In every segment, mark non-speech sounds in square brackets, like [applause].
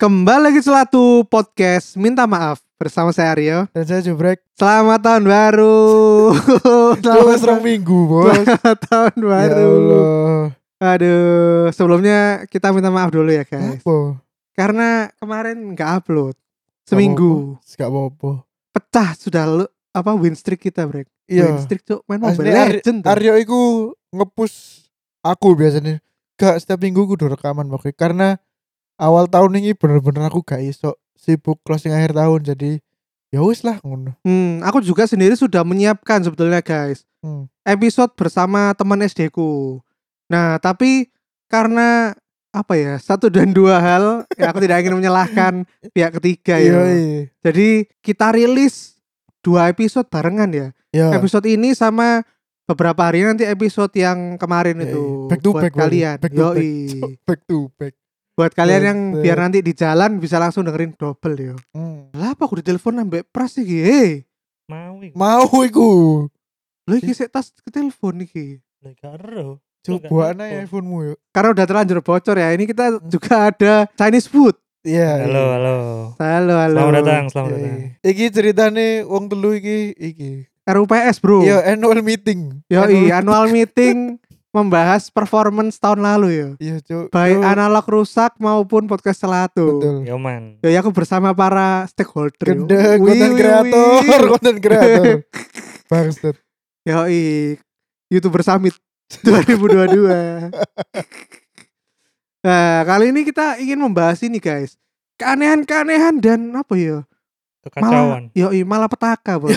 Kembali lagi selatu podcast Minta Maaf bersama saya Aryo. Dan saya Jubrek Selamat tahun baru. [laughs] Dua selamat, serang minggu bos selamat tahun Ya baru. Allah Aduh, sebelumnya kita minta maaf dulu ya guys. Apa? Karena kemarin nggak upload seminggu. Gak apa-apa Pecah sudah lu, apa win streak kita, Brek. Win Iya streak cuk main Asli, Mobile Ar- Legend. tuh. Aryo iku ngepush aku biasanya Gak setiap minggu aku udah rekaman pokoknya Karena awal tahun ini bener-bener aku gak iso Sibuk closing akhir tahun jadi ya wis lah ngono. Hmm, aku juga sendiri sudah menyiapkan sebetulnya guys. Hmm. Episode bersama teman SD ku. Nah, tapi karena apa ya satu dan dua hal ya aku tidak ingin [laughs] menyalahkan pihak ketiga Iya, ya. iya. Jadi kita rilis dua episode barengan ya. Iya. Episode ini sama beberapa hari nanti episode yang kemarin Iya, itu iya. back to buat back berarti. kalian. back to back. Yoi. back Iya, to back Buat kalian yang Buset. biar nanti di jalan bisa langsung dengerin double yo. Hmm. Lah apa aku ditelepon ambek Pras iki? Eh, Hei, mau iki mau iku lho Iya. iki sik tas ketelepon iki. Lah, gak ero. coba aja Nggak apa. iPhone-mu yuk Karena udah terlanjur bocor ya. Ini kita juga ada Chinese food. iya halo halo Halo, halo. selamat datang selamat Iya, datang iya. Iki ceritane wong telu iki iki. RUPS, Bro. Iya annual meeting. Yo, iya. annual Annual- [laughs] meeting membahas performance tahun lalu ya. Iya, Cuk. Baik Cuk. analog rusak maupun podcast selatu. Betul. yo man Ya, aku bersama para stakeholder. yo. Wih, Gede konten wih, kreator, wih. konten [laughs] kreator. Bangsat. Yoi, YouTuber Summit [laughs] 2022. nah, kali ini kita ingin membahas ini, guys. Keanehan-keanehan dan apa ya? kekacauan Malah, yoi, malah petaka, [laughs] Bos.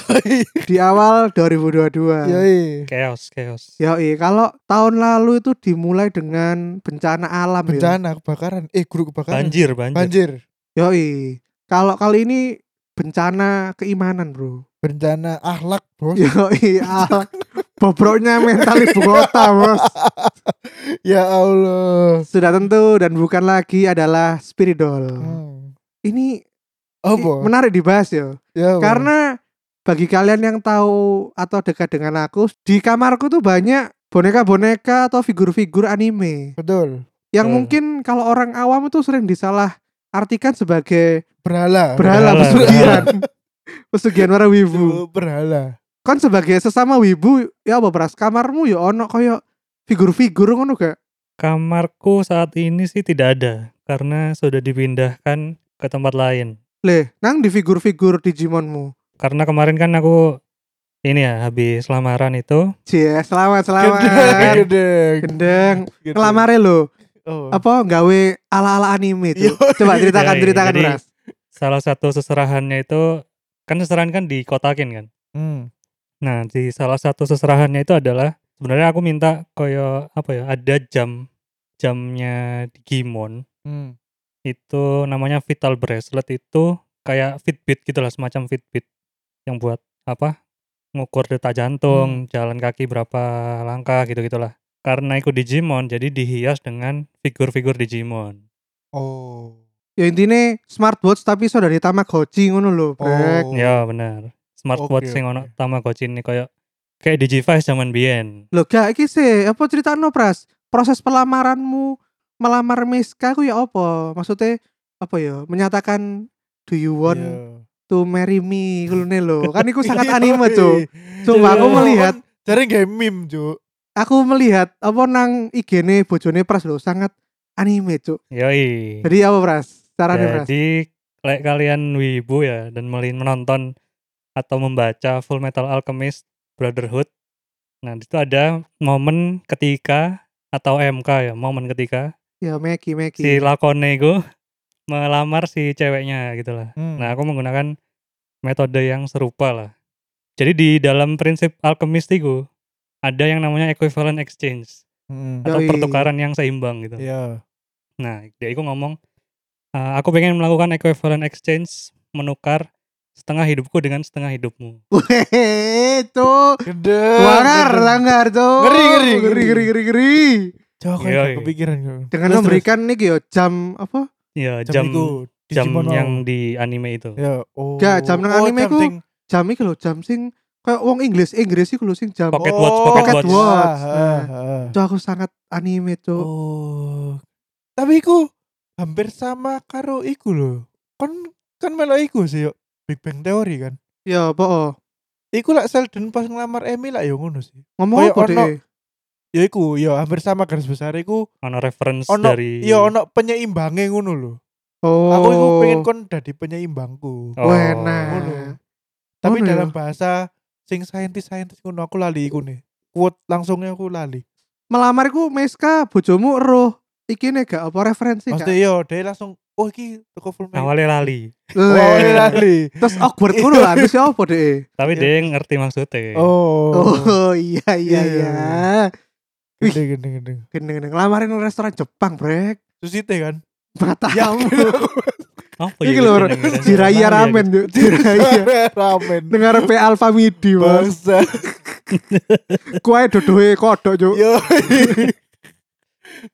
di awal 2022. Iya. iya. chaos chaos Yoi, kalau tahun lalu itu dimulai dengan bencana alam ya. Bencana kebakaran. Eh, guru kebakaran. banjir banjir Banjir. Yoi. Kalau kali ini bencana keimanan, [laughs] Bro. Bencana akhlak, Bos. Iya. Yoi, al- bobroknya mental ibu kota, [laughs] Bos. [laughs] ya Allah. Sudah tentu dan bukan lagi adalah spiritual. Hmm. Oh, Ini i- Apa? menarik dibahas ya. Ya, apa? Karena bagi kalian yang tahu atau dekat dengan aku, di kamarku tuh banyak boneka-boneka atau figur-figur anime. betul. yang Hmm. mungkin kalau orang awam itu sering disalah artikan sebagai Berhala. berhala Berhala, pesugihan pesugihan para wibu Cuk, Berhala. kan sebagai sesama wibu ya apa beras kamarmu ya ono koyo figur-figur ngono gak kamarku saat ini sih tidak ada karena sudah dipindahkan ke tempat lain leh nang di figur-figur Digimonmu karena kemarin kan aku ini ya habis lamaran itu cie selamat selamat Gede, gede. gendeng gede. ngelamare lo Gitu. Oh. apa nggawe ala-ala anime itu coba ceritakan Yoi, ceritakan jadi- beras salah satu seserahannya itu kan seserahan kan dikotakin kan Hmm. nah di salah satu seserahannya itu adalah sebenarnya aku minta koyo apa ya ada jam jamnya Digimon Hmm. itu namanya vital bracelet itu kayak Fitbit gitu lah semacam Fitbit yang buat apa ngukur detak Hmm. jantung jalan kaki berapa langkah gitu gitulah karena ikut Digimon jadi dihias dengan figur-figur Digimon Oh. ya intinya smartwatch tapi sudah di Tamagotchi ngono lho brek Oh. ya benar smartwatch Oke, sing ono oke. Tamagotchi ini kayak kayak Digivice zaman biyen Loh gak iki sih, apa cerita no pras? Proses pelamaranmu melamar Miska ku ya apa? Maksudnya apa ya? Menyatakan do you want Iya. to marry me kulune lho. Kan iku [laughs] sangat anime, Yoi. Cuk. Coba aku Iya. melihat, Jarang game meme, Cuk. aku melihat apa nang IG-ne bojone Pras lho, sangat anime, Cuk. Iya. yoi Jadi apa Pras? Carane Pras? Jadi kayak kalian wibu ya dan melin menonton atau membaca Full Metal Alchemist Brotherhood. Nah, itu ada momen ketika atau MK ya, momen ketika iya. Ya Meki Meki. si Lakone itu melamar si ceweknya gitu lah. Hmm. Nah, aku menggunakan metode yang serupa lah. Jadi di dalam prinsip alchemist itu ada yang namanya equivalent exchange Hmm. atau Yoi. pertukaran yang seimbang gitu. Iya. Nah, dia itu ngomong, "Eh, aku pengen melakukan equivalent exchange, menukar setengah hidupku dengan setengah hidupmu. Wehehe, Cuk. Gede. Langgar, gede. langgar, Cuk. Ngeri, ngeri, ngeri, ngeri. ngeri, ngeri, ngeri. Cuk, aku Yoi. gak kepikiran Cuk. Dengan Terus, memberikan nih yo jam apa? Ya, terus. jam itu, jam Digimon yang mau. di anime itu. ya oh. Gak, jam nang anime jam ku. sing- jam iki lho jam sing kayak wong Inggris Inggris iku lho sing jam Pocket watch, Oh, pocket watch. Ah, ah, Nah. ah. Cuk, aku sangat anime cuk Oh. Tapi iku hampir sama karo iku loh kan kan melo iku sih yuk Big Bang Theory kan Ya, po. iku lah Sheldon pas ngelamar Emmy lah yo ngono sih Ngomong Kayak apa ono- deh? ya iku ya hampir sama garis besar iku ono reference ono dari ya ono penyeimbangnya ngono loh Iya. Oh. aku iku pengen kon dadi penyeimbangku Oh. Wena. Ngono. tapi Ngono ya? dalam bahasa sing saintis saintis ngono aku lali iku nih quote langsungnya aku lali Melamar iku Meska bojomu roh. Iki nih gak apa referensi maksudnya gak? yo dia langsung oh iki toko full awalnya lali oh iya, Leh. lali Terus awkward ngono lah, terus ya apa deh? tapi Ya. dia ngerti maksudnya oh Oh, iya iya Iya. iya. Wih. gede gede gede Gendeng-gendeng lamarin nang restoran Jepang, Brek. susite [laughs] kan Matamu. apa [laughs] ya, Iki lho, Jiraya ya, gitu. ramen, yuk. gitu. [laughs] Jiraya. ramen Dengar P Alpha Midi, Mas. bangsa Kuai dodohe kodok, Cuk. yo [laughs]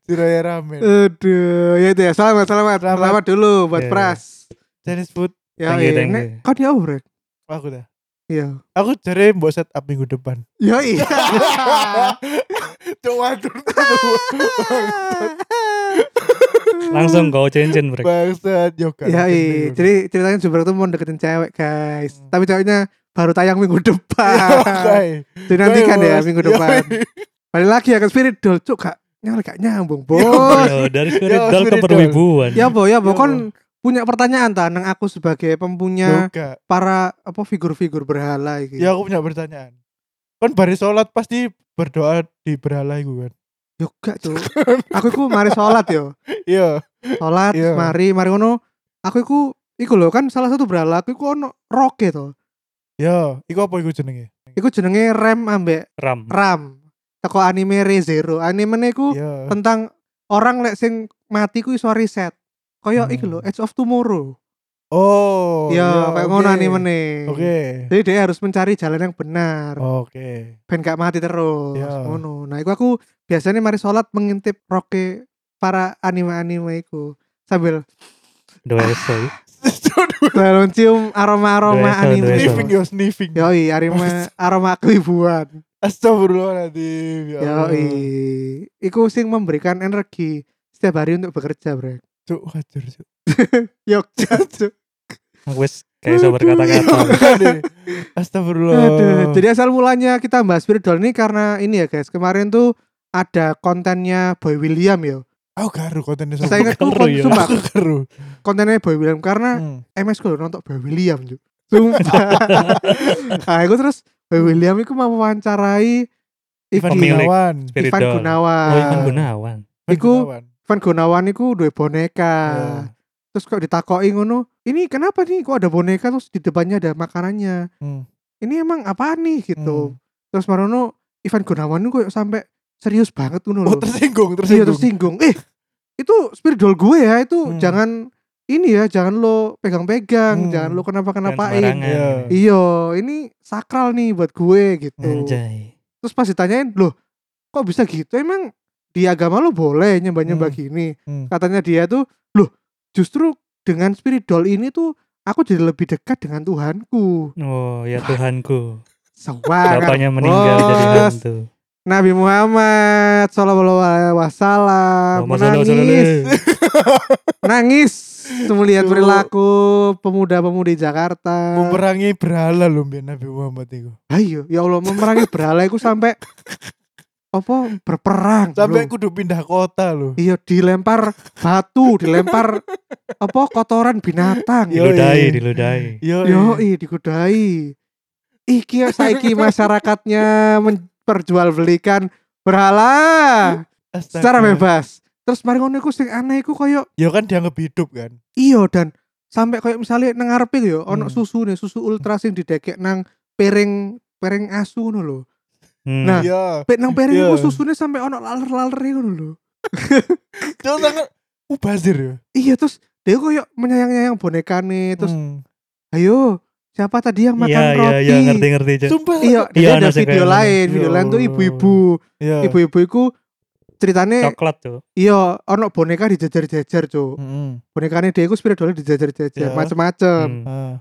Jiraya ramen Aduh, ya itu ya. Selamat, selamat, Selamat. selamat, dulu buat Ya. Pras. Chinese food Ya, Thank you, iya. thank Nek, you. kau dia urek. aku dah Iya. aku cari mbok set up minggu depan Ya iya. [laughs] Cok [laughs] waduh langsung kau cincin [laughs] break bangsa yo kan Ya iya. [laughs] Jadi ceritanya Jumbrek tuh mau deketin cewek, guys. Hmm. Iya, Tapi ceweknya baru tayang minggu Ya, depan. Oke. Jadi nantikan ya Bos. minggu Yo, depan. iya. Balik lagi ya ke Spirit Doll, cuk gak nyambung, gak nyambung, Bos. Yo, dari spirit Yo, doll ke spirit doll. perwibuan Ya, Bo, ya, Bo Yo, kon punya pertanyaan ta nang aku sebagai pempunya Yo, gak. para apa figur-figur berhala iki. Ya aku punya pertanyaan. Kan bari sholat pasti berdoa di berhala iku kan. Yo gak cuk. aku iku mari sholat yo. Iya. Sholat Iya. mari mari ngono. Aku iku iku lho kan salah satu berhala aku iku ono roke to. Yo, Ya, iku apa iku jenenge? Iku jenenge Rem ambek Hmm. ram Ram. Teko anime ReZero. Anime iku Iya. tentang orang lek sing mati ku iso reset. Koyo Hmm. iku lho Edge of Tomorrow. Oh. yo iya, Ya, kayak oke. ngono animene. Oke. Jadi dia harus mencari jalan yang benar. Oke. ben gak mati terus Iya. ngono nah iku aku biasanya mari sholat mengintip roke para anime anime iku sambil doeso dalam cium aroma aroma Doeso, doeso. Sniffing anime yo sniffing. yoi aroma aroma keibuan Astagfirullahaladzim. Ya Allah. yoi iku sing memberikan energi setiap hari untuk bekerja brek Cuk, hancur, [laughs] cuk. yuk cuk. aku wis kayak iso berkata-kata Aduh. Oh. Astagfirullah. Aduh, jadi asal mulanya kita bahas spiritual ini karena ini ya guys kemarin tuh ada kontennya Boy William yo aku garu kontennya sama. saya ingat tuh Seru ya. sumpah aku garu. kontennya Boy William karena Hmm. MS gue nonton Boy William Ju. [laughs] Sumpah. nah, aku terus Boy William itu mau wawancarai Ivan, Ivan Pemilik. Gunawan. Ivan spirit doll Gunawan. oh Ivan Gunawan Ivan Iku- ah, Gunawan. Ivan Gunawan itu dua boneka. Ya. Terus kok ditakoi ngono, ini kenapa nih kok ada boneka terus di depannya ada makanannya? Hmm. Ini emang apa nih gitu. Terus Marono Ivan Gunawan itu kok sampai serius banget ngono loh. Oh tersinggung, Iya tersinggung. tersinggung. Eh, itu spiritual gue ya, itu Hmm. jangan ini ya, jangan lo pegang-pegang, Hmm. jangan lo Jangan kenapa-kenapain. sembarangan. Iya. Iyo, ini sakral nih buat gue Oh. gitu. Hmm, anjay Terus pas ditanyain, loh kok bisa gitu? Emang di agama lo boleh nyembah-nyembah Hmm. gini? Hmm. Katanya dia tuh, loh justru dengan spirit doll ini tuh aku jadi lebih dekat dengan Tuhanku. oh ya Tuhanku Sewangan. bapaknya meninggal jadi Bos. hantu Nabi Muhammad Sallallahu Alaihi Wasallam Allahumma sholli wa ah, sallim. menangis, nangis melihat Tuh. perilaku pemuda-pemudi Jakarta. Memerangi Ah. berhala loh biar Nabi Muhammad itu. Ayo, ya Allah memerangi berhala iku sampai apa berperang. Sampai bro. kudu pindah kota loh. iya dilempar batu, dilempar apa kotoran Ya binatang. Yo, diludahi iya. diludahi Yo, iya. Yo, iya. ih digudai. Iki ya saiki masyarakatnya memperjualbelikan berhala astaga. secara bebas. Terus mari ngono iku sing aneh iku koyo Yo kan dianggap hidup kan. iya dan sampai koyo misalnya nang ngarepe yo ono Hmm. susu nih, susu ultra sing didekek nang piring piring asu ngono lho. Hmm. Nah, Yo. Pek nang piring Iya. iku susunya sampai ono laler-laler e ngono lho. Jangan sangat mubazir ya. Iya terus dia koyo menyayang-nyayang bonekane terus Hmm. ayo siapa tadi yang makan iya iya roti? iya ngerti ngerti Cuk. Sumpah. Iya, dia Iya, ada nasi video kayak lain, ngono. video lain tuh Yo. ibu-ibu. Yo. Ibu-ibu iku ceritane coklat tuh iya ono boneka dijajar-jajar, Cuk. Mm-mm. Bonekane dia iku spiritualnya dijajar-jajar Iya. macem-macem. Hmm. Ah.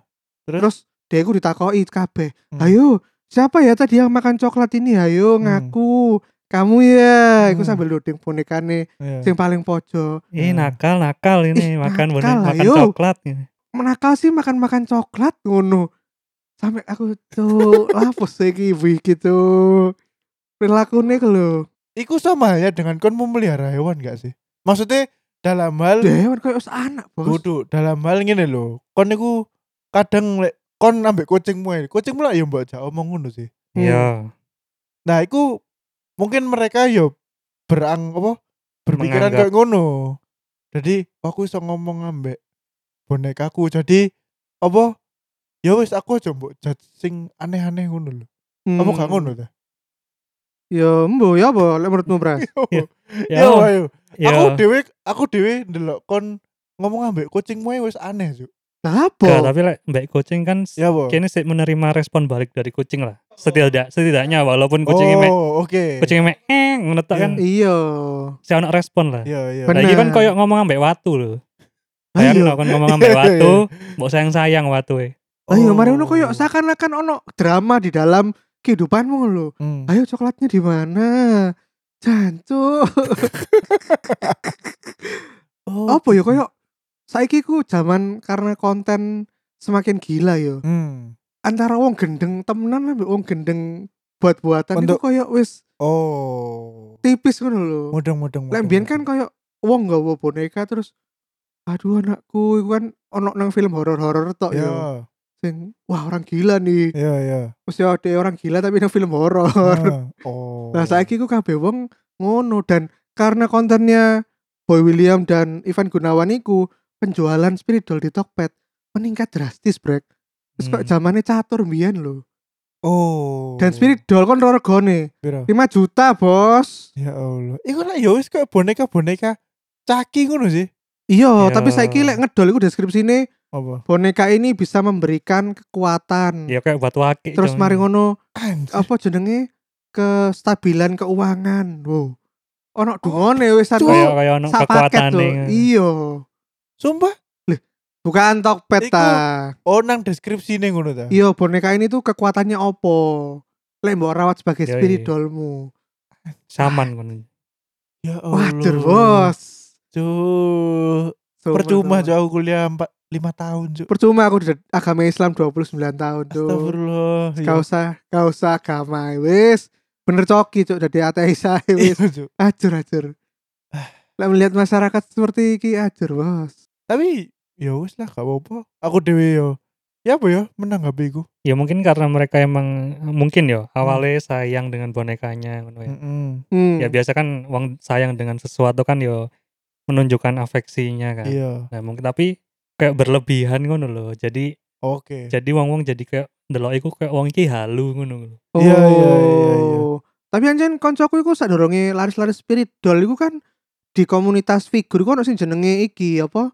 Terus dia iku ditakoi kabeh, Hmm. "Ayo, siapa ya tadi yang makan coklat ini? Ayo Hmm. ngaku." kamu ya aku Hmm. sambil loading bonekane Iya. sing paling pojok Ih Hmm. nakal nakal ini makan eh. bener nakal, makan ayo. coklat ini. menakal sih makan-makan coklat ngono sampai aku tuh [laughs] lapus sih ibu gitu perilakunya ke lo Iku sama ya dengan kon memelihara hewan gak sih? Maksudnya dalam hal dewan kayak us anak bos Kudu dalam hal ngene lho. Kon niku kadang lek kon ambek kucingmu ae. Kucingmu lah ya mbok jak omong ngono sih. Hmm. Iya. Nah, iku mungkin mereka yo berang apa? Berpikiran Menganggap. kayak ngono. Jadi aku iso ngomong ambek bonekaku. Jadi apa? Ya wis aku aja mbok judge sing aneh-aneh ngono lho. Hmm. Apa gak ngono ta? ya mbo ya apa lek menurutmu bra [laughs] Ya, Ya Ya. ayo. ya. Aku dhewe aku dhewe ndelok kon ngomong ambek kucingmu ae wis aneh, Cuk. lah Gak, apa tapi like, mbak kucing kan Ya apa? kini sih menerima respon balik dari kucing lah. Setidak setidaknya walaupun kucingnya mek Oh, oke. kucingnya mek eh ngetok kan iya si anak respon lah. Iya, iya. Nah, ini kan Bener. koyok ngomong ambek watu loh. Lah [laughs] iya. Bayangin no, kan ngomong Iya, ambek iya, watu, mbok sayang-sayang watu e. ayo Oh, iya, mari ono ono koyo seakan-akan ono drama di dalam kehidupanmu lo Hmm. ayo coklatnya di mana jancuk Oh. apa ya gitu. koyo saiki ku zaman karena konten semakin gila yo Hmm. antara wong gendeng temenan lah wong gendeng buat-buatan itu Untuk- koyo wis Oh. tipis ngono lho Mudeng-mudeng. lek mbiyen kan koyo wong nggawa boneka terus aduh anakku iku kan ono nang film horor-horor tok yo ya. sing wah orang gila nih Ya, ya. mesti ada orang gila tapi nang film horor Ah, Oh. [laughs] Nah saiki ku kabeh wong ngono dan karena kontennya Boy William dan Ivan Gunawan iku penjualan spirit doll di Tokped meningkat drastis brek. Terus kok Hmm. zamannya catur mbiyen lho. Oh. Dan spirit doll kon regane Piro? 5 juta, Bos. Ya Allah. Iku lah ya wis kayak boneka-boneka caki ngono sih. Iya, Ya. tapi saiki lek ngedol iku deskripsine Apa? boneka ini bisa memberikan kekuatan. Ya kayak buat wakil. Terus mari ngono Anjir. apa jenenge kestabilan keuangan. Wow. Ono dungone wis aku kayak kayak ono Uh, sak paket kekuatan lho. nih. Iya. Sumpah. Bukan Tokped Iku- ta. Oh, nang deskripsi nih ngono ta. Iya, boneka ini tuh kekuatannya opo. Lek mbok rawat sebagai Yoi. spirit dollmu. Saman ngono. Ya Oh, Allah. Wajar, bos. Cuk. So, Percuma teman-teman. jauh kuliah 4 5 tahun, Cuk. Percuma aku di agama Islam 29 tahun tuh. Astagfirullah. Iya. Gak usah, gak usah agama. Wis, bener coki cuk dari ateis ae Iya, wis. Cuk. Ajur, ajur. Ah. Lek melihat masyarakat seperti iki ajur, bos. tapi ya wis lah gak apa-apa aku dewe yo ya apa ya menanggapi iku Ya mungkin karena mereka emang mungkin ya awalnya sayang dengan bonekanya ngono ya. Mm-mm. Hmm. Ya biasa kan wong sayang dengan sesuatu kan yo menunjukkan afeksinya kan. iya Nah, mungkin tapi kayak berlebihan ngono loh. Jadi oke jadi wong-wong jadi kayak delok iku kayak wong iki halu ngono lho. Oh. Iya, iya, iya, iya. Tapi anjen koncoku iku sadurunge laris-laris spirit doll iku kan di komunitas figur iku ono sing jenenge iki apa?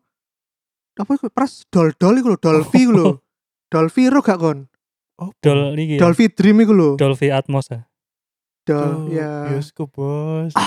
Apa iku pres doll-doll iku lho, Dolphy iku Oh. lho. Dolphy ro gak kon? Hmm. Iya. Dol iki ya. Dolphy Dream iku lho. Dolphy Atmos ya. Dol ya ya. bioskop bos [laughs]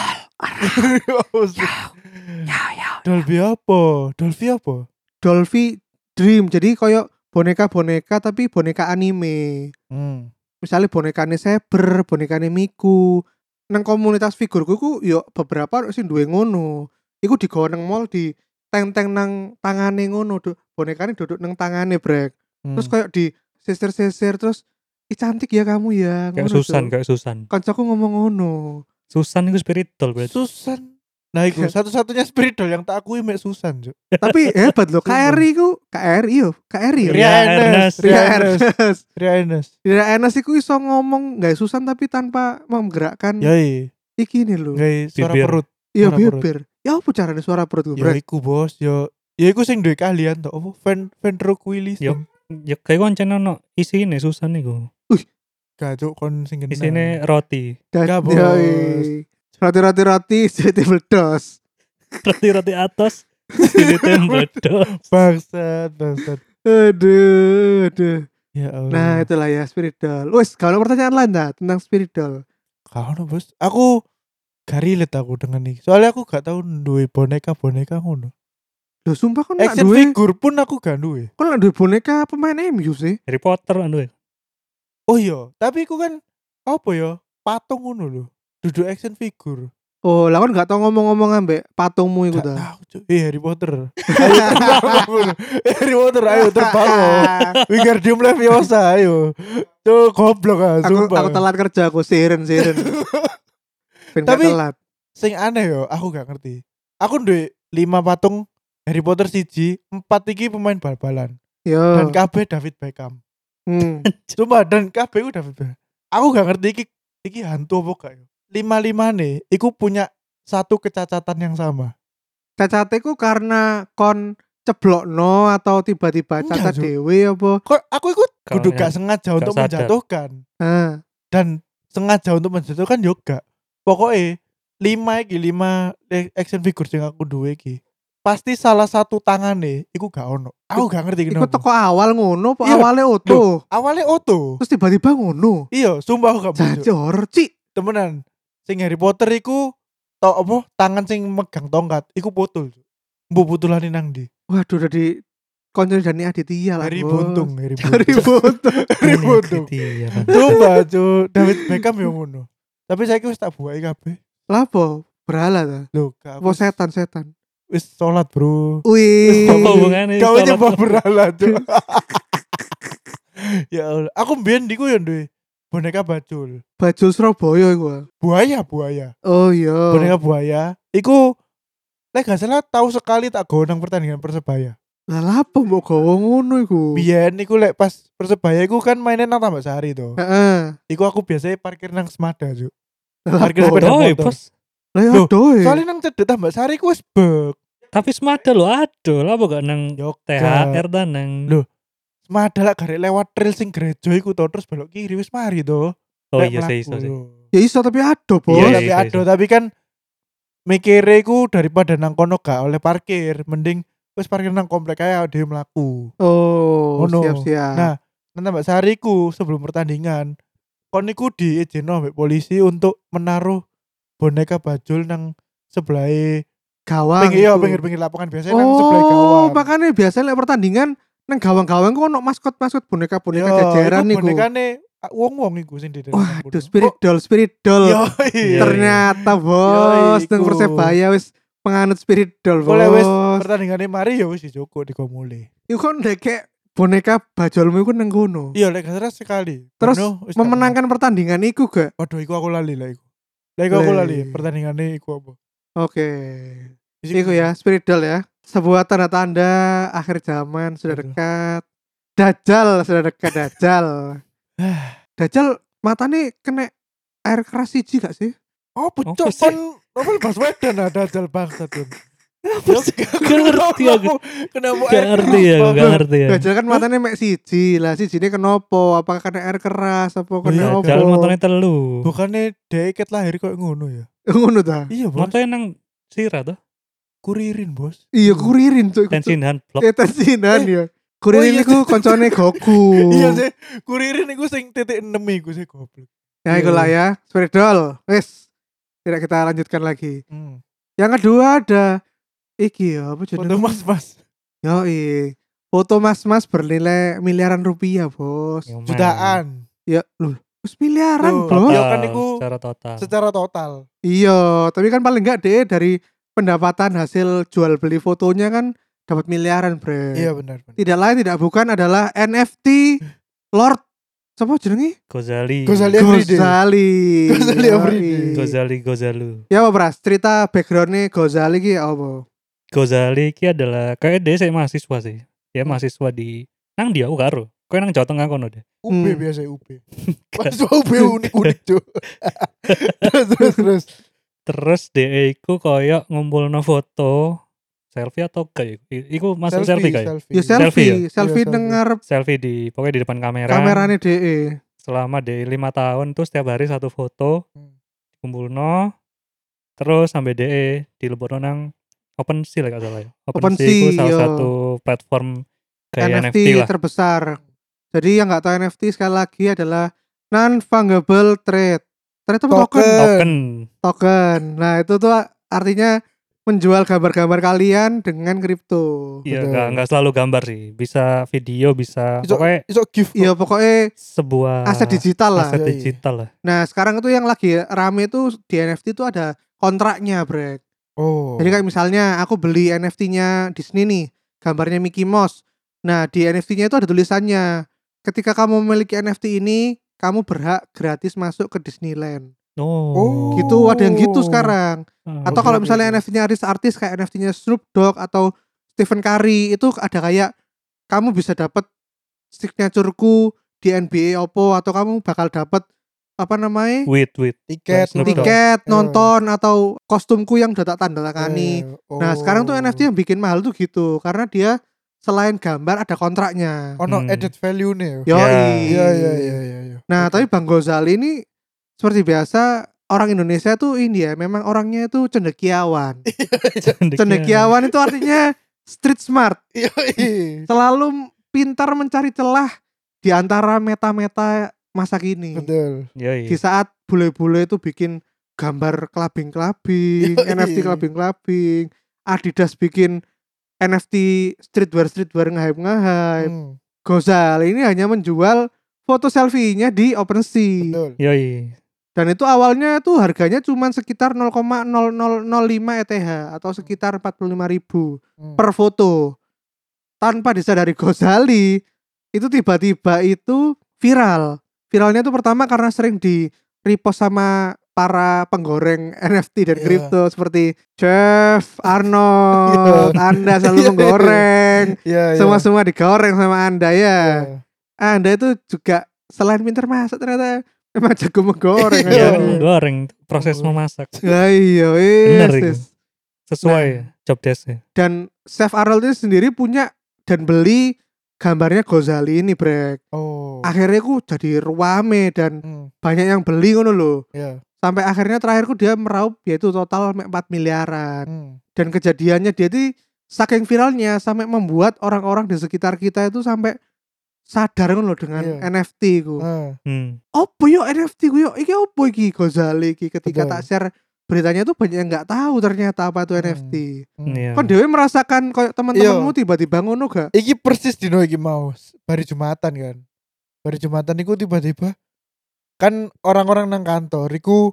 Ya, Dolby apa Dolby apa Dolphy Dream. Jadi koyo boneka-boneka tapi boneka anime. hmm. Misalnya bonekane Saber, bonekane Miku. Nang komunitas figurku iku yo beberapa ono sing duwe ngono. Iku digawa nang mall di teng-teng nang tangane ngono, du- bonekane duduk nang tangane, Brek. Terus Hmm. kayak di sisir-sisir terus Ih cantik ya kamu ya. Kayak ngono, Susan, Cuk. kayak Susan. Kancaku ngomong ngono. Susan itu spiritual berarti. Susan nah iku satu-satunya spiritual yang tak akui mek Susan Cuk. Tapi hebat loh Sumpah. KRI ku KRI yo, KRI yo. Ria Iya, Ria Ernest. Ernest Ria Ya Ernest Ernest. Ria Ernest Ya Ernest iku iso ngomong nggak susan tapi tanpa menggerakkan yai iki nih lho. yai iya. Ya, suara Bibir. perut Iya suara Ya. perut. bibir. Ya apa caranya suara perut gue, ya Brek? iku bos ya ya iku sing duwe keahlian to apa Ven- ventriloquism Yo. Ya kayak koncen ono isine Susan iku. Gak cuk kon sing Nah. genah. Isine roti. Dan- Gabus. Yoi. Roti-roti roti [laughs] jadi meledos. Roti-roti atas isine meledos. bangsat bangsat. Aduh, aduh. Ya Allah. Nah, itulah ya spiritual. Wes, kalau pertanyaan lain dah tentang spiritual. Kau no, bos. Aku gak relate aku dengan ini. Soalnya aku gak tahu duwe boneka boneka ngono. Loh, sumpah kan nak Action duwe, figure pun aku gak duwe. kan nak duwe boneka pemain MU sih. Harry Potter anu ya. Oh iya, tapi aku kan apa ya? Patung ngono lho. duduk action figure Oh, lah kan gak tau ngomong-ngomong ambek patungmu itu Gak dah. tahu cuy eh Harry Potter [laughs] ayo terbang. Harry Potter ayo terbang [laughs] loh. Wingardium Leviosa ayo tuh goblok ah aku, sumpah aku telat kerja, aku siren [laughs] siren. ben gak Tapi- telat. sing aneh yo aku gak ngerti aku duwe 5 patung Harry Potter siji empat iki pemain bal-balan Yo. dan kabeh David Beckham Hmm. Sumpah dan kabeh ku David Beckham aku gak ngerti iki iki hantu apa gak yo lima lima nih iku punya satu kecacatan yang sama Cacateku karena kon ceblokno atau tiba-tiba Enggak, cacat Zul. dewe apa? kok aku ikut Kalau kudu yang gak sengaja untuk sadar. menjatuhkan Heeh. dan sengaja untuk menjatuhkan yo gak pokoknya lima iki lima eh, action figure sing aku duwe iki pasti salah satu tangan nih iku gak ono aku gak ngerti Iku kenapa teko awal ngono, apa Iya. awalnya oto. awalnya Otto Terus tiba-tiba ngono. iya sumpah [laughs] aku gak bodoh Jadi horor, Cik. temenan sing Harry Potter iku tok apa tangan sing megang tongkat iku putul mbu putulane nang ndi Waduh, udah di konco Dani Aditya lah. Harry Bos. [laughs] Buntung Harry Dari [laughs] Buntung Buntung. Harry Buntung Iya, coba cu David Beckham ya ngono tapi saya wis tak buai kabeh gitu. Lah apa? ah. Berhala ta. lho gak Apa setan-setan? wis salat bro Wih. Apa hubungannya? kau sholat? nyembah berhala cu [laughs] ya Allah aku mbiyen diku ya duwe boneka bacul Bajul Surabaya gua. buaya buaya Oh iya. boneka buaya iku Lek gak salah tahu sekali tak go nang pertandingan persebaya. Lah lah apa mbok gawa ngono iku? Biyen niku lek pas persebaya iku kan mainnya nang tambak sari to. Heeh. Iku aku biasanya parkir nang Semada, Cuk. Lah Parkir apa? sepeda Doi, motor. eh, bos. Lah ya Loh, doe. Soalnya nang cedek tambak sari ku wis bek. Tapi semada lo aduh lah bukan nang Yo THR dan nang Loh, Semada lak garek lewat trail sing gereja iku to terus belok kiri wis mari to. oh Lek iya sih mlaku, sih. lho. Ya iso tapi ado, Bos. Iya, Iya, tapi iya, aduh, tapi kan mikire ku daripada nang kono gak oleh parkir, mending wis parkir nang komplek ae dhewe mlaku. Oh, Ngono. siap-siap. Nah, nang tambak sari ku sebelum pertandingan kon niku diizinno ambek polisi untuk menaruh boneka bajul nang sebelah gawang. pinggir iya iku. pinggir-pinggir lapangan biasanya nang kan sebelah Ah, Oh, gawang. makanya biasanya lek pertandingan nang gawang-gawang ku ono maskot-maskot boneka-boneka Yo, jajaran Iya, iku niku. bonekane ah, wong-wong iku sing di Waduh, spirit doll, spirit Yo, doll. Iya, Ternyata, Bos, Yoi, nang iku. Persebaya wis penganut spirit doll, boleh wis Bos. pertandingane mari ya wis dijoko dikomule. Iku kan ndekek boneka bajolmu iku nang kono. Iya, lek gak salah sekali. Terus Bono, wis gak Memenangkan pertandingan iku gak? menang. Waduh, iku aku lali lah iku. Lah iku aku Leh. lali pertandingane iku apa? Oke. Di situ. Iku ya, spiritual ya. Sebuah tanda-tanda akhir zaman sudah Betul. dekat. Dajjal sudah dekat Dajjal. Dajjal matanya kena air keras siji gak sih? Oh, Apa pecok sih? kon novel Baswedan ada jal bangsat tuh. Gak ngerti aku. Kenapa Gak ngerti ya, gak ngerti Iya. ya. Dajjal kan matanya mek siji lah, siji ini kenapa? Apakah kena air keras apa iya, kena Jalan motornya apa? telu. Bukannya deket lahir kok ngono ya? [laughs] Ngono ta. Iya, Bos. Motornya nang sira tuh. Kuririn, Bos. Iya kuririn tuh. Tensinan blok. Eh tensinan ya. Kuririn iya. iku koncone Oh. Goku. [laughs] Iya sih, kuririn iku sing titik 6 iku sih goblok. Ya Iya. itulah ya, spiritual. Wes. Tidak kita lanjutkan lagi. Hmm. Yang kedua ada iki ya, apa Foto jenenge? Mas, Mas. Yo, foto mas-mas bernilai miliaran rupiah, Bos. Nyoman. Jutaan. Nah. Ya, loh, wis miliaran, Loh. Bro. Iya, Total, kan iku- Oh, secara total. Secara total. Iya, tapi kan paling enggak deh dari pendapatan hasil jual beli fotonya kan dapat miliaran, Bre. Iya, benar, benar. Tidak lain tidak bukan adalah NFT Lord siapa jenenge? Gozali. Gozali Everyday. Gozali. Ghazali Yoi. Everyday. Gozali Gozalu. Ya apa Pras? Cerita backgroundnya Gozali ki ya apa? Gozali iki adalah kayak dia saya mahasiswa sih. Dia mahasiswa di nang dia karo. Kau nang Jawa Tengah kono deh. UB Hmm. biasa UB. [laughs] Mas UB unik-unik, Cuk. terus terus terus. Terus dia iku koyok ngumpulno foto selfie atau kayak iku masuk selfie, kayak Ya selfie, Selfie selfie, ya? Iya, selfie. dengar selfie di pokoknya di depan kamera. kamerane DE. Selama dia lima tahun tuh setiap hari satu foto Hmm. kumpulno. Terus sampai dia di lebaran nang OpenSea lah gak salah ya. OpenSea, OpenSea, itu salah yo. satu platform kayak NFT, NFT, lah. terbesar. Jadi yang nggak tahu NFT sekali lagi adalah non fungible trade. Trade itu apa? token. Token. Token. Token. Nah itu tuh artinya menjual gambar-gambar kalian dengan kripto. Iya, Betul. nggak nggak selalu gambar sih. Bisa video, bisa Bisa- pokoknya Iso gift. Iya pokoknya sebuah aset digital lah. Ah, aset Iya, iya. digital lah. Nah sekarang itu yang lagi rame itu di NFT itu ada kontraknya Brek. Oh. Jadi kayak misalnya aku beli NFT-nya Disney nih, gambarnya Mickey Mouse. Nah di NFT-nya itu ada tulisannya, ketika kamu memiliki NFT ini, kamu berhak gratis masuk ke Disneyland. Oh, Gitu ada yang gitu Oh. sekarang. Ah, Atau Oke, kalau oke, misalnya oke. NFT-nya artis-artis kayak NFT-nya Snoop Dogg atau Stephen Curry itu ada kayak kamu bisa dapat signatureku di NBA Oppo atau kamu bakal dapat apa namanya wait, wait. tiket, Snoop Dogg. tiket Eh. nonton atau kostumku yang udah tak tanda tangani. Eh, Nah oh. sekarang tuh NFT yang bikin mahal tuh gitu karena dia selain gambar ada kontraknya. ono Hmm. added value nih. Yoi. Iya iya iya iya. iya. Nah, Oke. tapi Bang Gozali ini seperti biasa orang Indonesia tuh ini ya, memang orangnya itu cendekiawan. Cendekiawan itu artinya street smart, Iya, iya. selalu pintar mencari celah di antara meta-meta masa kini. Betul. Iya, iya. Di saat bule-bule itu bikin gambar kelabing-kelabing, Yoi. NFT kelabing-kelabing, Adidas bikin NFT streetwear streetwear ngehype ngehype. Hmm, Gozali ini hanya menjual foto selfie-nya di OpenSea. Betul. Iya, iya. Dan itu awalnya itu harganya cuma sekitar 0,0005 ETH E atau sekitar 45.000 Hmm. per foto. Tanpa disadari Gozali, itu tiba-tiba itu viral. Viralnya itu pertama karena sering di repost sama para penggoreng [laughs] NFT dan Iya. kripto seperti [laughs] Jeff, Arnold, Iya. Anda selalu menggoreng, Iya iya. semua-semua digoreng sama Anda ya. Iya. Anda itu juga selain pinter masak ternyata emang jago menggoreng. [laughs] Iya. aja. Jangan goreng kan, proses Goreng. memasak Lah iya, Bener yes, itu. yes. sesuai job desknya. Dan Chef Arnold ini sendiri punya dan beli gambarnya Gozali ini, Brek. Oh. Akhirnya ku jadi ruame dan Hmm, banyak yang beli ngono loh. Iya. Sampai akhirnya terakhirku dia meraup yaitu total mek 4 miliaran. Hmm. Dan kejadiannya dia itu saking viralnya sampai membuat orang-orang di sekitar kita itu sampai sadar ngono loh dengan Iya. NFT ku. Ah, Hmm. opo yo NFT ku yo iki opo iki Gozali iki ketika Betul. tak share beritanya tuh banyak yang nggak tahu ternyata apa itu Hmm. NFT. hmm. Iya. Kon dewe merasakan kayak teman-temanmu Iya. tiba-tiba ngono gak? Iki persis dino iki mau hari Jumatan kan. Hari Jumatan iku tiba-tiba kan orang-orang nang kantor iku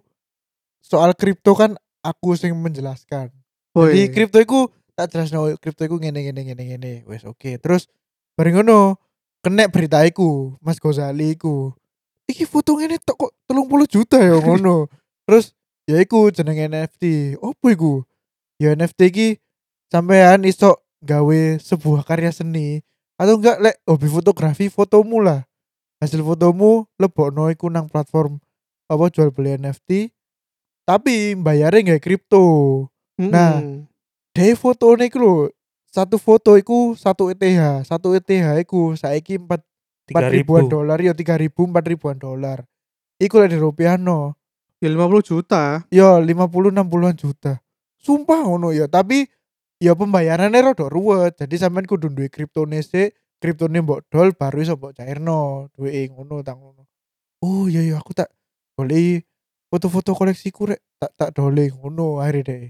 soal kripto kan aku sing menjelaskan. Jadi Boy. kripto iku tak jelasno kripto iku ngene ngene ngene ngene. Wes oke. Terus bareng ngono kena berita iku Mas Gozali iku. Iki foto ngene tok kok 30 juta ya ngono. Terus ya iku jeneng NFT. Opo iku? Ya NFT iki sampean iso gawe sebuah karya seni atau enggak lek hobi fotografi fotomu lah. Hasil fotomu lebokno iku nang platform apa jual beli NFT tapi bayarnya nggak kripto Mm-mm. nah, deh foto nih lho satu foto iku satu ETH satu ETH iku saiki empat empat Tiga ribuan ribu. dolar ya tiga ribu empat ribuan dolar iku lah di rupiah no ya 50 juta. ya lima puluh enam puluhan juta sumpah ngono ya tapi ya pembayarannya rada ruwet jadi sampean kudu duwe kriptone sik kriptone mbok dol baru iso mbok cairno duwe ngono tak ngono oh iya iya aku tak boleh foto-foto koleksiku rek tak tak dole ngono akhirnya deh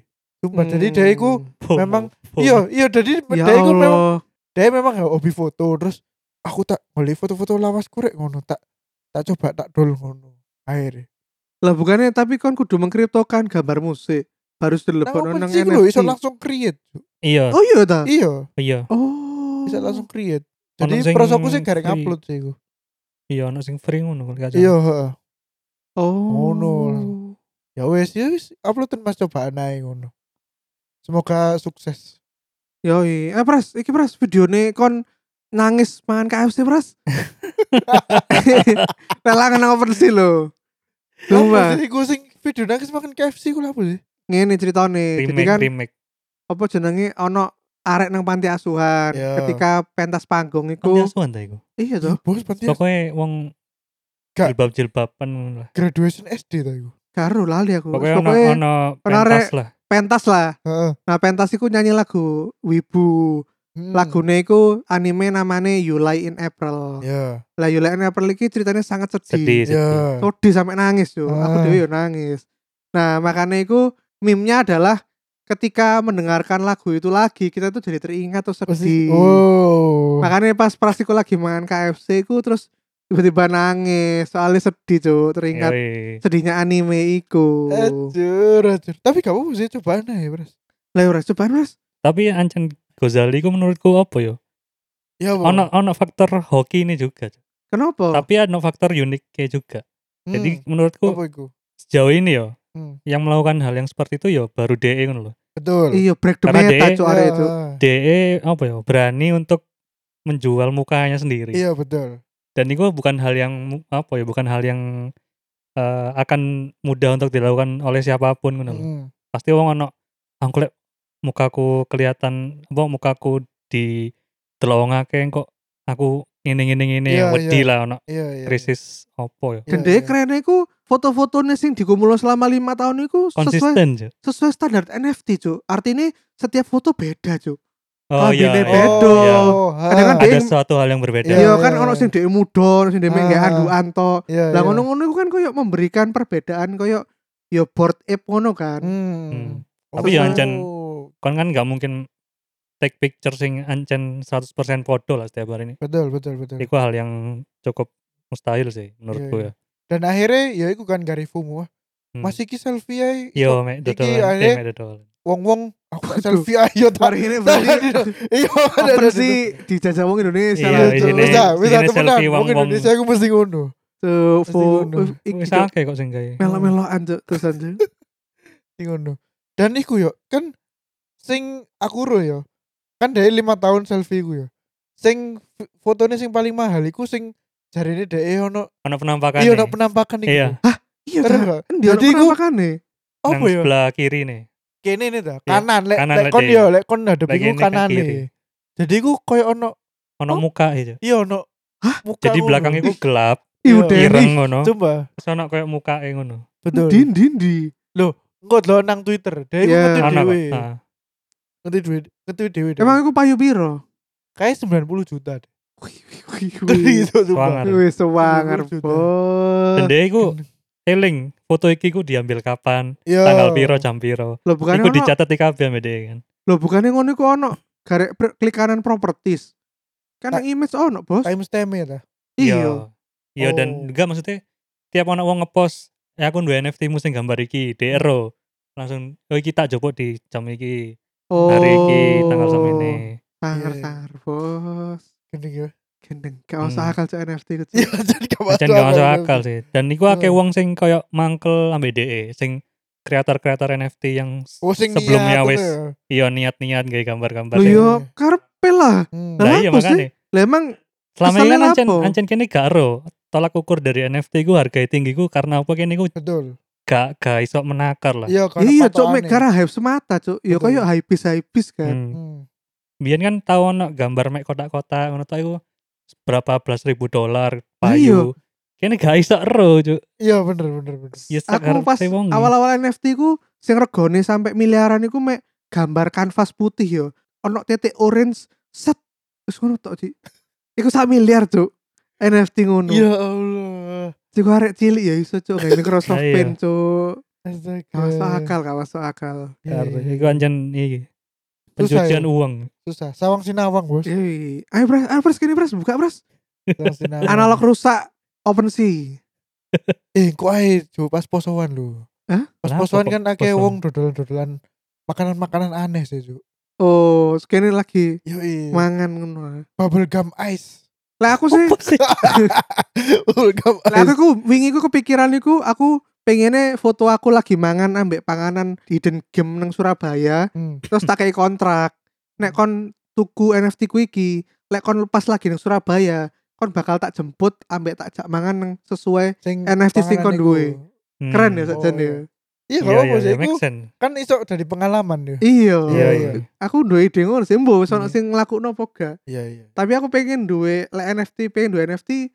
sumpah jadi deh iku Hmm. Memang- Iya, iya jadi ya dia iku Allah. memang dia memang nggak hobi foto terus aku tak boleh foto-foto lawas kurek ngono tak tak coba tak dol ngono akhirnya Lah bukannya tapi kon kudu mengkriptokan gambar musik baru nah dilebokno nang OpenSea lho iso NFT. langsung create Cuk. Iya, Oh iya ta. iya iya, Oh. bisa langsung create Ono jadi sing prosoku sih garek free. upload sih iku. iya. Ono sing free ngono kalau nggak salah. iya heeh. Oh. Ngono lah. ya wes ya wes uploadan mas cobaan ae ngono semoga sukses Yoi. Eh Pras, iki Pras videone kon nangis mangan KFC Pras. [laughs] Lelangan nang OpenSea lho. Cuma Apa sih iku sing video nangis makan KFC ku apa sih ngene ceritane. Jadi Remake, kan remake. apa jenenge ono arek nang panti asuhan Iya. ketika pentas panggung Kan iku. asuhan ta iku. Iya toh, bos berarti Pokoknya wong Gak- jilbab-jilbaban ngono lah. graduation SD ta iku karo lali aku. Pokoknya ono Pokoknya ono penarek. pentas lah. pentas lah. heeh Nah, pentas iku nyanyi lagu Wibu. Hmm. Lagune iku anime namanya You Lie in April. ya Lah You Lie in April iki ceritanya sangat sedih. Sedih. ya Todi sampai nangis yo. Aku Ah. dhewe yo nangis. Nah, makanya iku meme-nya adalah ketika mendengarkan lagu itu lagi kita tuh jadi teringat atau sedih Pasti. Oh. makanya pas Prastiku lagi makan KFC ku terus tiba-tiba nangis soalnya sedih cuy teringat Iya, Yoi. sedihnya anime iku Eh. Acur, acur. Tapi kamu mesti coba aneh ya, Bro. lah ora coba mas Tapi ancen Gozali ku menurutku apa yo? Ya, Bro. Ono ono faktor hoki ini juga. kenapa Tapi ono faktor uniknya juga. Oh. Hmm, Jadi menurutku apa iku? sejauh ini yo Hmm, yang melakukan hal yang seperti itu yo baru DE ngono loh. Betul. iya break the Karena meta dia- cuy arek itu Ah, DE apa yo berani untuk menjual mukanya sendiri. Iya, betul. Dan itu bukan hal yang mu- apa ya, bukan hal yang eh, akan mudah untuk dilakukan oleh siapapun ngono loh. Hmm. pasti wong ono angklek mukaku kelihatan apa mukaku di delongake kok aku ngene ngene ngene Iya, wedi iya. lah ono Iya, iya. krisis opo ya Iya, dan dia iya. kerennya ku foto-fotonya sing digumulo selama lima tahun itu sesuai konsisten Cuk. sesuai standar NFT cuy artinya setiap foto beda cuy oh iya, kabinnya iya, bedo. iya. ha. Kadang-kadang ada Ding. suatu hal yang berbeda Iya, Iya kan iya. ono sing dhek muda, ono sing dhek Ah. mengge anduan to. Iya, Lah iya. ngono-ngono iku kan koyo memberikan perbedaan koyo ya board ape ngono kan. Hmm. Hmm. Oh. Tapi ya, Ancan. kan kan nggak mungkin take picture sing ancen 100% podo lah setiap hari ini Betul, betul, betul. itu hal yang cukup mustahil sih menurutku Hmm. ya. Iya, Dan akhirnya ya iku kan garifumu wah. Hmm. Masih ki selfie ae. ya yo mek Iki dodolan akhirnya- eh, mek dodolan Wong-wong aku Waduh. gak selfie ayo tak. Hari [laughs] ini berarti Iya, apa sih dijajah wong Indonesia Iya, lah di Cuk. sini. Bisa, di bisa sini temenan. selfie Wong wong-wong. Indonesia aku mesti ngono. Tuh, fo- Pasti ngono. Oh, iki wis Cuk. akeh kok sing gawe melo-meloan Cuk, terusan Cuk. [laughs] Mesti ngono. Dan iku yo kan sing aku ro yo. Kan dari lima tahun selfie ku yo. Sing f- fotonya sing paling mahal iku sing jarine dhek e ono ono penampakan iya ono penampakan iku. Iya. Iya, Keren Cuk. gak? Kan dia Jadi Jadi iku- kenapa kan nih? Apa ya? yo? sebelah kiri nih kene ini dah Iya. kanan lek Kanan, lek lek kon dia. yo lek kon ngadepi Lek ku ini ke kanan kiri. nih jadi ku koyo ono ono Oh. muka itu iya ono muka jadi ngono. belakangnya ku [laughs] gelap Iu Iya. Denny. ireng ngono coba terus ono kayak muka e ngono betul Din din di. Iya. engko lo nang Twitter dhewe Iya. yeah. ngetu ono dhewe kok Ah, ngetu dhewe ngetu dhewe Emang aku payu piro? kayak 90 juta deh Gitu, Wih, wih, wih, gede [laughs] wih. itu coba Semangat. [laughs] Wih, sewangar, Juta. bos. dan dia ku eling foto iki ku diambil kapan Iya. tanggal piro jam piro Loh, bukannya iku ono dicatat di kabeh sama dia kan Loh bukannya ngono iku ono garek pre- klik kanan properties. Kan Ta- yang image ono, Bos. timestamp ya ta Iya. iya dan Oh. enggak maksudnya tiap ono wong ngepost ya aku duwe NFT mu sing gambar iki DRO langsung oh iki tak jopo di jam iki Oh. hari iki tanggal sama ini Iya. Sangar-sangar, Bos. gede [laughs] ya Gendeng, gak usah Hmm. akal cek NFT itu. iya jadi gak masuk dan gak masuk akal. akal sih dan iku akeh Hmm. wong sing koyo mangkel ambe DE sing kreator-kreator NFT yang s- oh sing sebelumnya niat wis itu ya. iya. iya niat-niat gawe gambar-gambar Loh sing- yo karepe lah. Hmm. Lah, Nah, iya apa sih? makanya Lah emang Selama ini kan Kesannya ancen, apa? ancen kene gak ero tolak ukur dari NFT ku harga tinggi ku karena apa kene ku betul gak gak iso menakar lah. iya karena iya cok mek patokannya. karena hype semata cok. Yo Betul. koyo hype-hype kan. ya. Hmm. Hmm. Biyen kan tau ono gambar mek kotak-kotak ngono tau iku berapa belas ribu dolar Lah iya. payu. Kene gak iso ero cuk. iya bener bener bener Ya sak Aku pas harpe wong. awal-awal NFT ku sing regane sampai miliaran iku mek gambar kanvas putih yo. Ono titik orange set. Wis ngono tok, Ci. Iku sak miliar, cok. NFT ngono. Iya. ya Allah Cuk arek cilik ya iso cuk kayak Microsoft Iya. Paint cuk. Astaga. Gak masuk akal, gak masuk akal. Iya, Harpe. iya, Iku ancen Susah iki. ya? Pencucian uang. susah sawang sinawang bos Yoi. Ayo Pras, ayo Pras kene Pras, buka Pras. sawang sinawang Iya. Analog rusak OpenSea. eh kok ae Jo, pas posoan lu Hah? pas Kenapa posoan kok kan akeh posoan? wong dodolan-dodolan makanan-makanan aneh sih Ju Oh, kene lagi yo Iya. mangan ngono. bubble gum ice [laughs] Lah aku sih, Apa sih? bubble gum [laughs] lah aku ice ku- wingi ku kepikiran iku aku pengennya foto aku lagi mangan ambek panganan di hidden game nang Surabaya, Hmm. terus tak kei kontrak. Nek kon tuku NFT ku iki, lek kon lepas lagi nang Surabaya, kon bakal tak jemput ambek tak jak mangan nang sesuai sing NFT sing kon panganan iku. duwe. Hmm. keren ya Oh, saja ya iya. iya Iya kalau iya, bos iya, itu make sense. kan iso dari pengalaman ya iya Iya iya. aku duwe ide ngono sih mbok wis ono Hmm. Iya. sing nglakukno apa gak iya iya tapi aku pengen duwe lek NFT pengen duwe NFT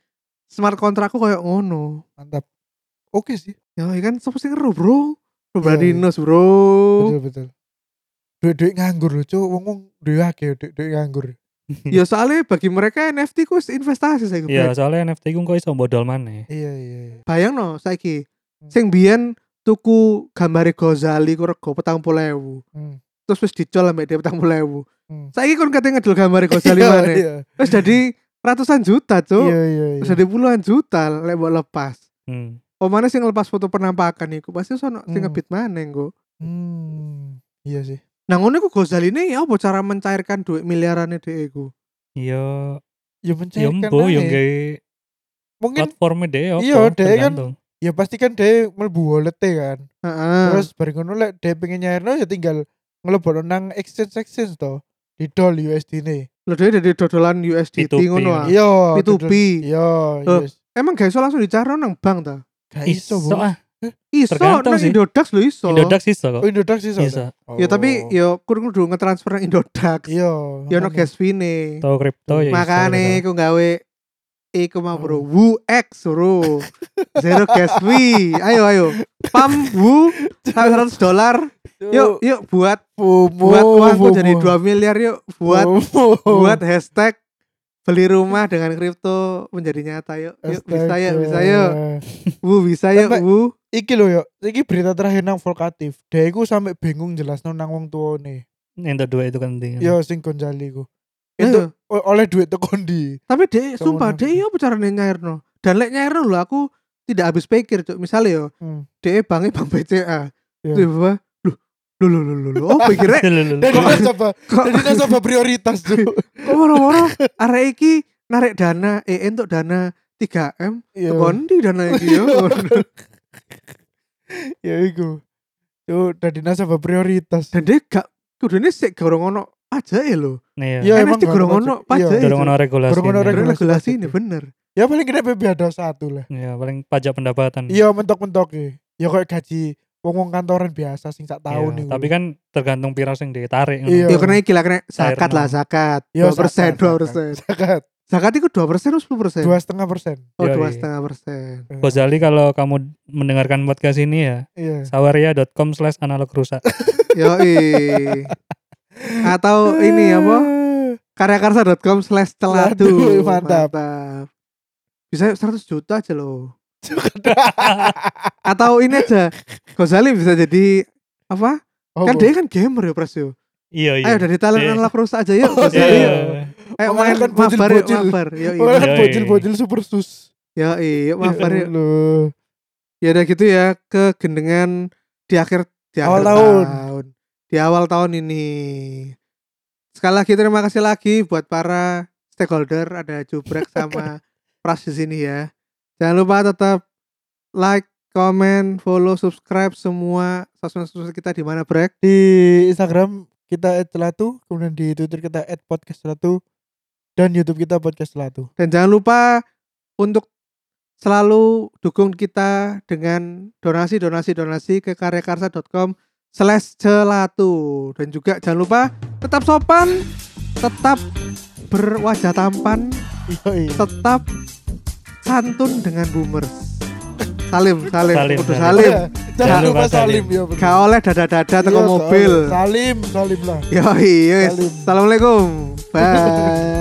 smart kontrakku koyo ngono mantap oke sih ya iya kan sopo sing ngeru bro Iya, Berani iya. nos bro betul betul duit-duit nganggur loh cuy wong wong duit akeh duit-duit nganggur iya. ya soalnya bagi mereka NFT ku wis investasi saiki Iya, soalnya NFT ku kok iso bodol maneh. iya iya iya. bayang no saiki Hmm. sing biyen tuku gambare Ghazali ku rego 40.000. Hmm. Terus wis dicol ambek dia 40.000. Hmm. Saiki kon kate ngedol gambare Ghazali [laughs] Iya, maneh. iya. Wis jadi ratusan juta, Cuk. Iya iya Wis iya. jadi puluhan juta lek mbok lepas. Hmm. Pemane sing lepas foto penampakan iku pasti sono sing Hmm. ngebit maneh engko. Hmm. Iya sih. Nah ngono iku Ghazali ini ya apa cara mencairkan duit miliarannya dhek iku? Yo, Ya yo mencairkan. Iya, mbo yo aja. nggih Mungkin platformnya deh apa Iya, deh kan. tergantung. ya pasti kan dia mlebu wallet kan. Heeh. Terus bareng ngono lek dia pengen nyairno ya tinggal ngelebokno nang exchange exchange to di dol USD ne. Lho dhewe dadi dodolan USDT P2P ngono ah. Ah. Iya. P2P. Iya, Eh. yes. Emang gak iso langsung dicarno nang bank ta? Gak Nah, iso, Iso Bu. ah. Iso nang Tergantung sih. Indodax lho iso. Indodax iso kok. Oh, Indodax iso. Iso. Oh. Ya tapi ya kurang kudu ngetransfer nang Indodax. Iya. Ya ono makanya. gas fee-ne. Tau kripto ya iso. Makane ku gitu. gawe iku mau bro Oh. Wu X bro. Zero gas fee. Ayo ayo. Pam [laughs] Wu 100 dolar. Yuk yuk buat FOMO, buat uangku FOMO. jadi 2 miliar yuk buat FOMO. buat hashtag beli rumah dengan kripto menjadi nyata yuk yuk bisa yuk bisa yuk Astaga. wu bisa yuk Sampai- wu Iki lho yo, iki berita terakhir nang Volkatif. Dia iku sampe bingung jelasno nang wong tuane. Entuk duit itu kan penting. Iya. Yo sing Gonzali iku. Ayo. Itu o- oleh duit tekon di. tapi deh Sama sumpah nang- deh iya caranya nyairno dan lek nyairno lho aku tidak habis pikir cuk misalnya yo Hmm. deh banknya bank BCA Iya. tiba lu lu lu lu lu lu oh pikirnya Dan Kok- nasabah, [laughs] kok dan nasabah prioritas tuh. kok moro-moro arek iki narik dana eh untuk dana 3M Iya. kondi dana iki yo [laughs] Ya iku. Yo dari nasabah prioritas. dan dia gak kudune sik gorong ono aja lho Iya. Iya, Kan mesti gak gorong ono ono pajak. Iya, pajak Dorong ono regulasi. Dorong ono ini. regulasi. Karena regulasi ini bener Ya paling gede PBH ada satu lah. Iya, paling pajak pendapatan. Iya mentok-mentok ya. Ya kayak gaji wong-wong kantoran biasa sing sak tahun Iya, iku. Tapi kan tergantung pira sing ditarik. Iya. Ya kena iki lah kena zakat Cairno. lah zakat. Yo, 2 persen, 2 zakat, zakat, persen. Zakat. Zakat itu 2 persen atau 10 persen? Dua setengah persen. Oh, Yoi. dua setengah persen. Ghazali kalau kamu mendengarkan podcast ini ya Iya. sawaria.com slash analog rusak Yoi. iya. Atau ini apa? Karyakarsa.com slash Celatu, celatu. mantap. Bisa 100 juta aja loh. Atau ini aja. Ghazali bisa jadi apa? Oh, Kan Iya, dia kan gamer ya Pras yo. [laughs] iya iya Ayo dari talent Iya. anak rusak aja yuk. Oh, Ghazali, iya yuk. Ayo main Mengalahkan mabar iya, yuk, bocil-bocil. mabar. Yoi. Oh, kan Yoi. bocil-bocil super sus. Iya, Yoi, yuk mabar yuk. Loh. ya udah gitu ya ke gendengan di akhir di akhir Awal tahun. tahun. di awal tahun ini sekali lagi terima kasih lagi buat para stakeholder ada Jubrek sama Pras di sini ya jangan lupa tetap like comment follow subscribe semua sosmed-sosmed kita di mana Brek di Instagram kita @celatu, kemudian di Twitter kita @podcastcelatu dan YouTube kita podcast celatu. dan jangan lupa untuk selalu dukung kita dengan donasi donasi donasi ke karyakarsa.com slash celatu dan juga jangan lupa tetap sopan tetap berwajah tampan Yoi. tetap santun dengan boomers salim salim, Salim, kudu salim. salim, Oh, iya. Jangan lupa salim ya. bener. gak oleh dada-dada teko Iya, mobil Salim, salim lah. yoi yoi Salim. [laughs] assalamualaikum bye